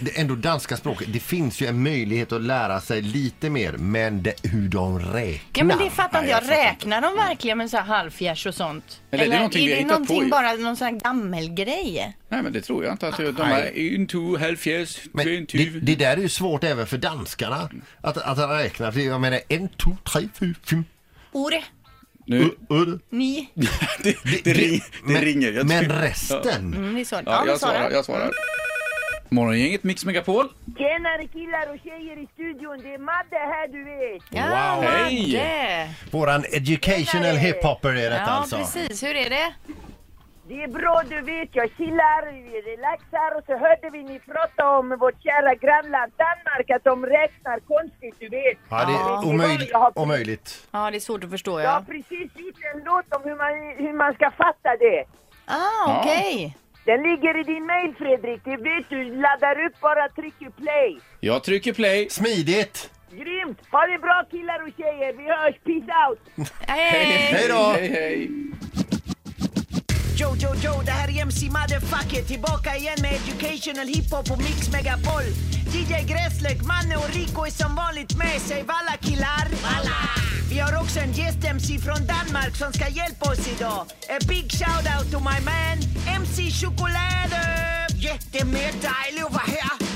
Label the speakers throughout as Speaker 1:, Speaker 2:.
Speaker 1: det ändå danska språket, det finns ju en möjlighet att lära sig lite mer, men det, hur de räknar.
Speaker 2: Ja men det fattar inte
Speaker 1: Nej,
Speaker 2: jag. Räknar de verkligen med så här halvfjärs och sånt?
Speaker 3: Eller är det någonting vi har
Speaker 2: är det
Speaker 3: hittat på
Speaker 2: någonting
Speaker 3: ju?
Speaker 2: bara någon sån här gammelgrej?
Speaker 3: Nej, men det tror jag inte. Att de här en, två, halvfjerds,
Speaker 1: Men
Speaker 3: en,
Speaker 1: det,
Speaker 3: tjuv.
Speaker 1: det där är ju svårt även för danskarna att, att räkna. För jag menar en, två, tre, fyra, fem,
Speaker 2: Ore,
Speaker 3: Nu,
Speaker 1: öre.
Speaker 2: ni.
Speaker 3: det, det, ring, det
Speaker 1: men,
Speaker 3: ringer. Jag
Speaker 1: men
Speaker 3: tror-
Speaker 1: resten.
Speaker 2: Mm, det är så. Ja,
Speaker 3: Ja,
Speaker 2: men
Speaker 3: jag svarar,
Speaker 2: Sara.
Speaker 3: jag svarar. Morgongänget Mix Megapol.
Speaker 4: Tjenare killar och tjejer i studion, det är Madde här du vet!
Speaker 2: Ja,
Speaker 1: Wow.
Speaker 3: Hej.
Speaker 2: Madde.
Speaker 1: Våran educational hiphopper är detta
Speaker 2: Ja,
Speaker 1: alltså.
Speaker 2: precis. Hur är det?
Speaker 4: Det är bra du vet, jag chillar, vi relaxar och så hörde vi ni prata om vårt kära grannland Danmark att de räknar konstigt du vet.
Speaker 1: Ja, det
Speaker 4: Vet
Speaker 1: är
Speaker 4: ni vad?
Speaker 1: omöjligt.
Speaker 4: Jag har,
Speaker 1: omöjligt.
Speaker 2: Ja, det är svårt att förstå,
Speaker 4: jag har
Speaker 2: ja.
Speaker 4: precis gjort en låt om hur man, hur man ska fatta det.
Speaker 2: Ah, okej.
Speaker 4: Den ligger i din mail Fredrik, det vet du. Laddar upp bara, trycker play.
Speaker 3: Jag trycker play.
Speaker 1: Smidigt!
Speaker 4: Grymt! Ha det bra killar och tjejer, vi hörs, peace out!
Speaker 2: Hej!
Speaker 1: Hej då!
Speaker 3: Hej, hej.
Speaker 5: Joe, Joe, Joe, det här är MC Motherfucker tillbaka igen med educational hiphop och Mix Megapol. DJ Gräslök, Manne och Rico är som vanligt med sig. Valla killar! Valla! Vi har också en gäst-MC från Danmark som ska hjälpa oss idag. A big shout-out to my man MC Chokolade! Jättemycket dejligt att vara här!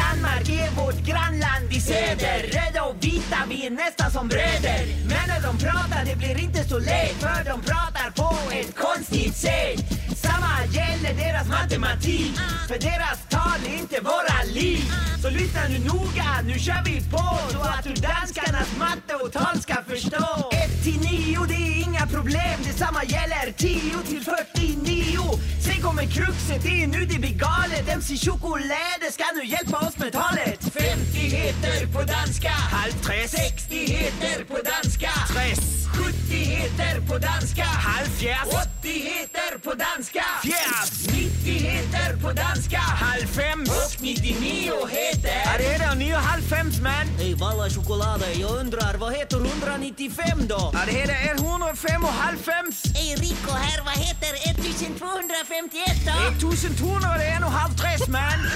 Speaker 5: Danmark är vårt grannland i söder Röda och vita, vi är nästan som bröder Men när de pratar det blir inte så lätt För de pratar på ett konstigt sätt Samma gäller deras matematik För deras tal är inte våra liv Så lyssna nu noga, nu kör vi på Så att du danskarnas matte och tal ska förstå 1 till 9 det är inga problem Detsamma gäller 10 till 49 Sen kommer kruxet, det är nu det blir galet MC Chokolade ska nu hjälpa oss med talet 50 heter på danska Halvträs 60 heter på danska Träs 70 heter på danska Halvfjerds 80 heter på danska Fjärs 90 heter på danska Halvfems Och 99 heter Ja, det är det, ni är halvfems man Hej valla choklad, jag undrar vad heter 195 då? Ja, det heter 105 och halvfems
Speaker 6: Hej Rico här, vad heter 1251 då?
Speaker 5: 1201 och halv tres man!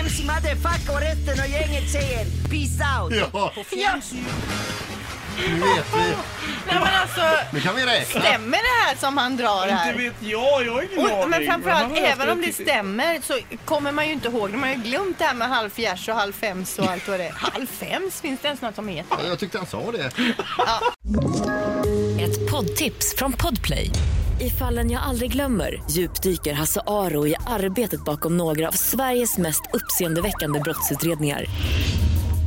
Speaker 5: MC Motherfucker och resten av gänget säger peace out!
Speaker 1: Ja,
Speaker 2: Ja,
Speaker 1: nu vet vi.
Speaker 2: nej men alltså,
Speaker 1: Nu kan vi räkna.
Speaker 2: stämmer det här som han drar
Speaker 3: Inte
Speaker 2: här?
Speaker 3: vet jag, jag har ingen
Speaker 2: Och,
Speaker 3: aning.
Speaker 2: men
Speaker 3: han
Speaker 2: framförallt,
Speaker 3: har
Speaker 2: även om det
Speaker 3: skrivit-
Speaker 2: stämmer så kommer man ju inte ihåg. De har ju glömt det här med halvfjärs och halvfems och allt vad det är. Halvfems, finns det ens något som heter?
Speaker 1: Ja, Jag tyckte han sa det.
Speaker 7: Ett poddtips från Podplay. I fallen jag aldrig glömmer djupdyker Hasse Aro i arbetet bakom några av Sveriges mest uppseendeväckande brottsutredningar.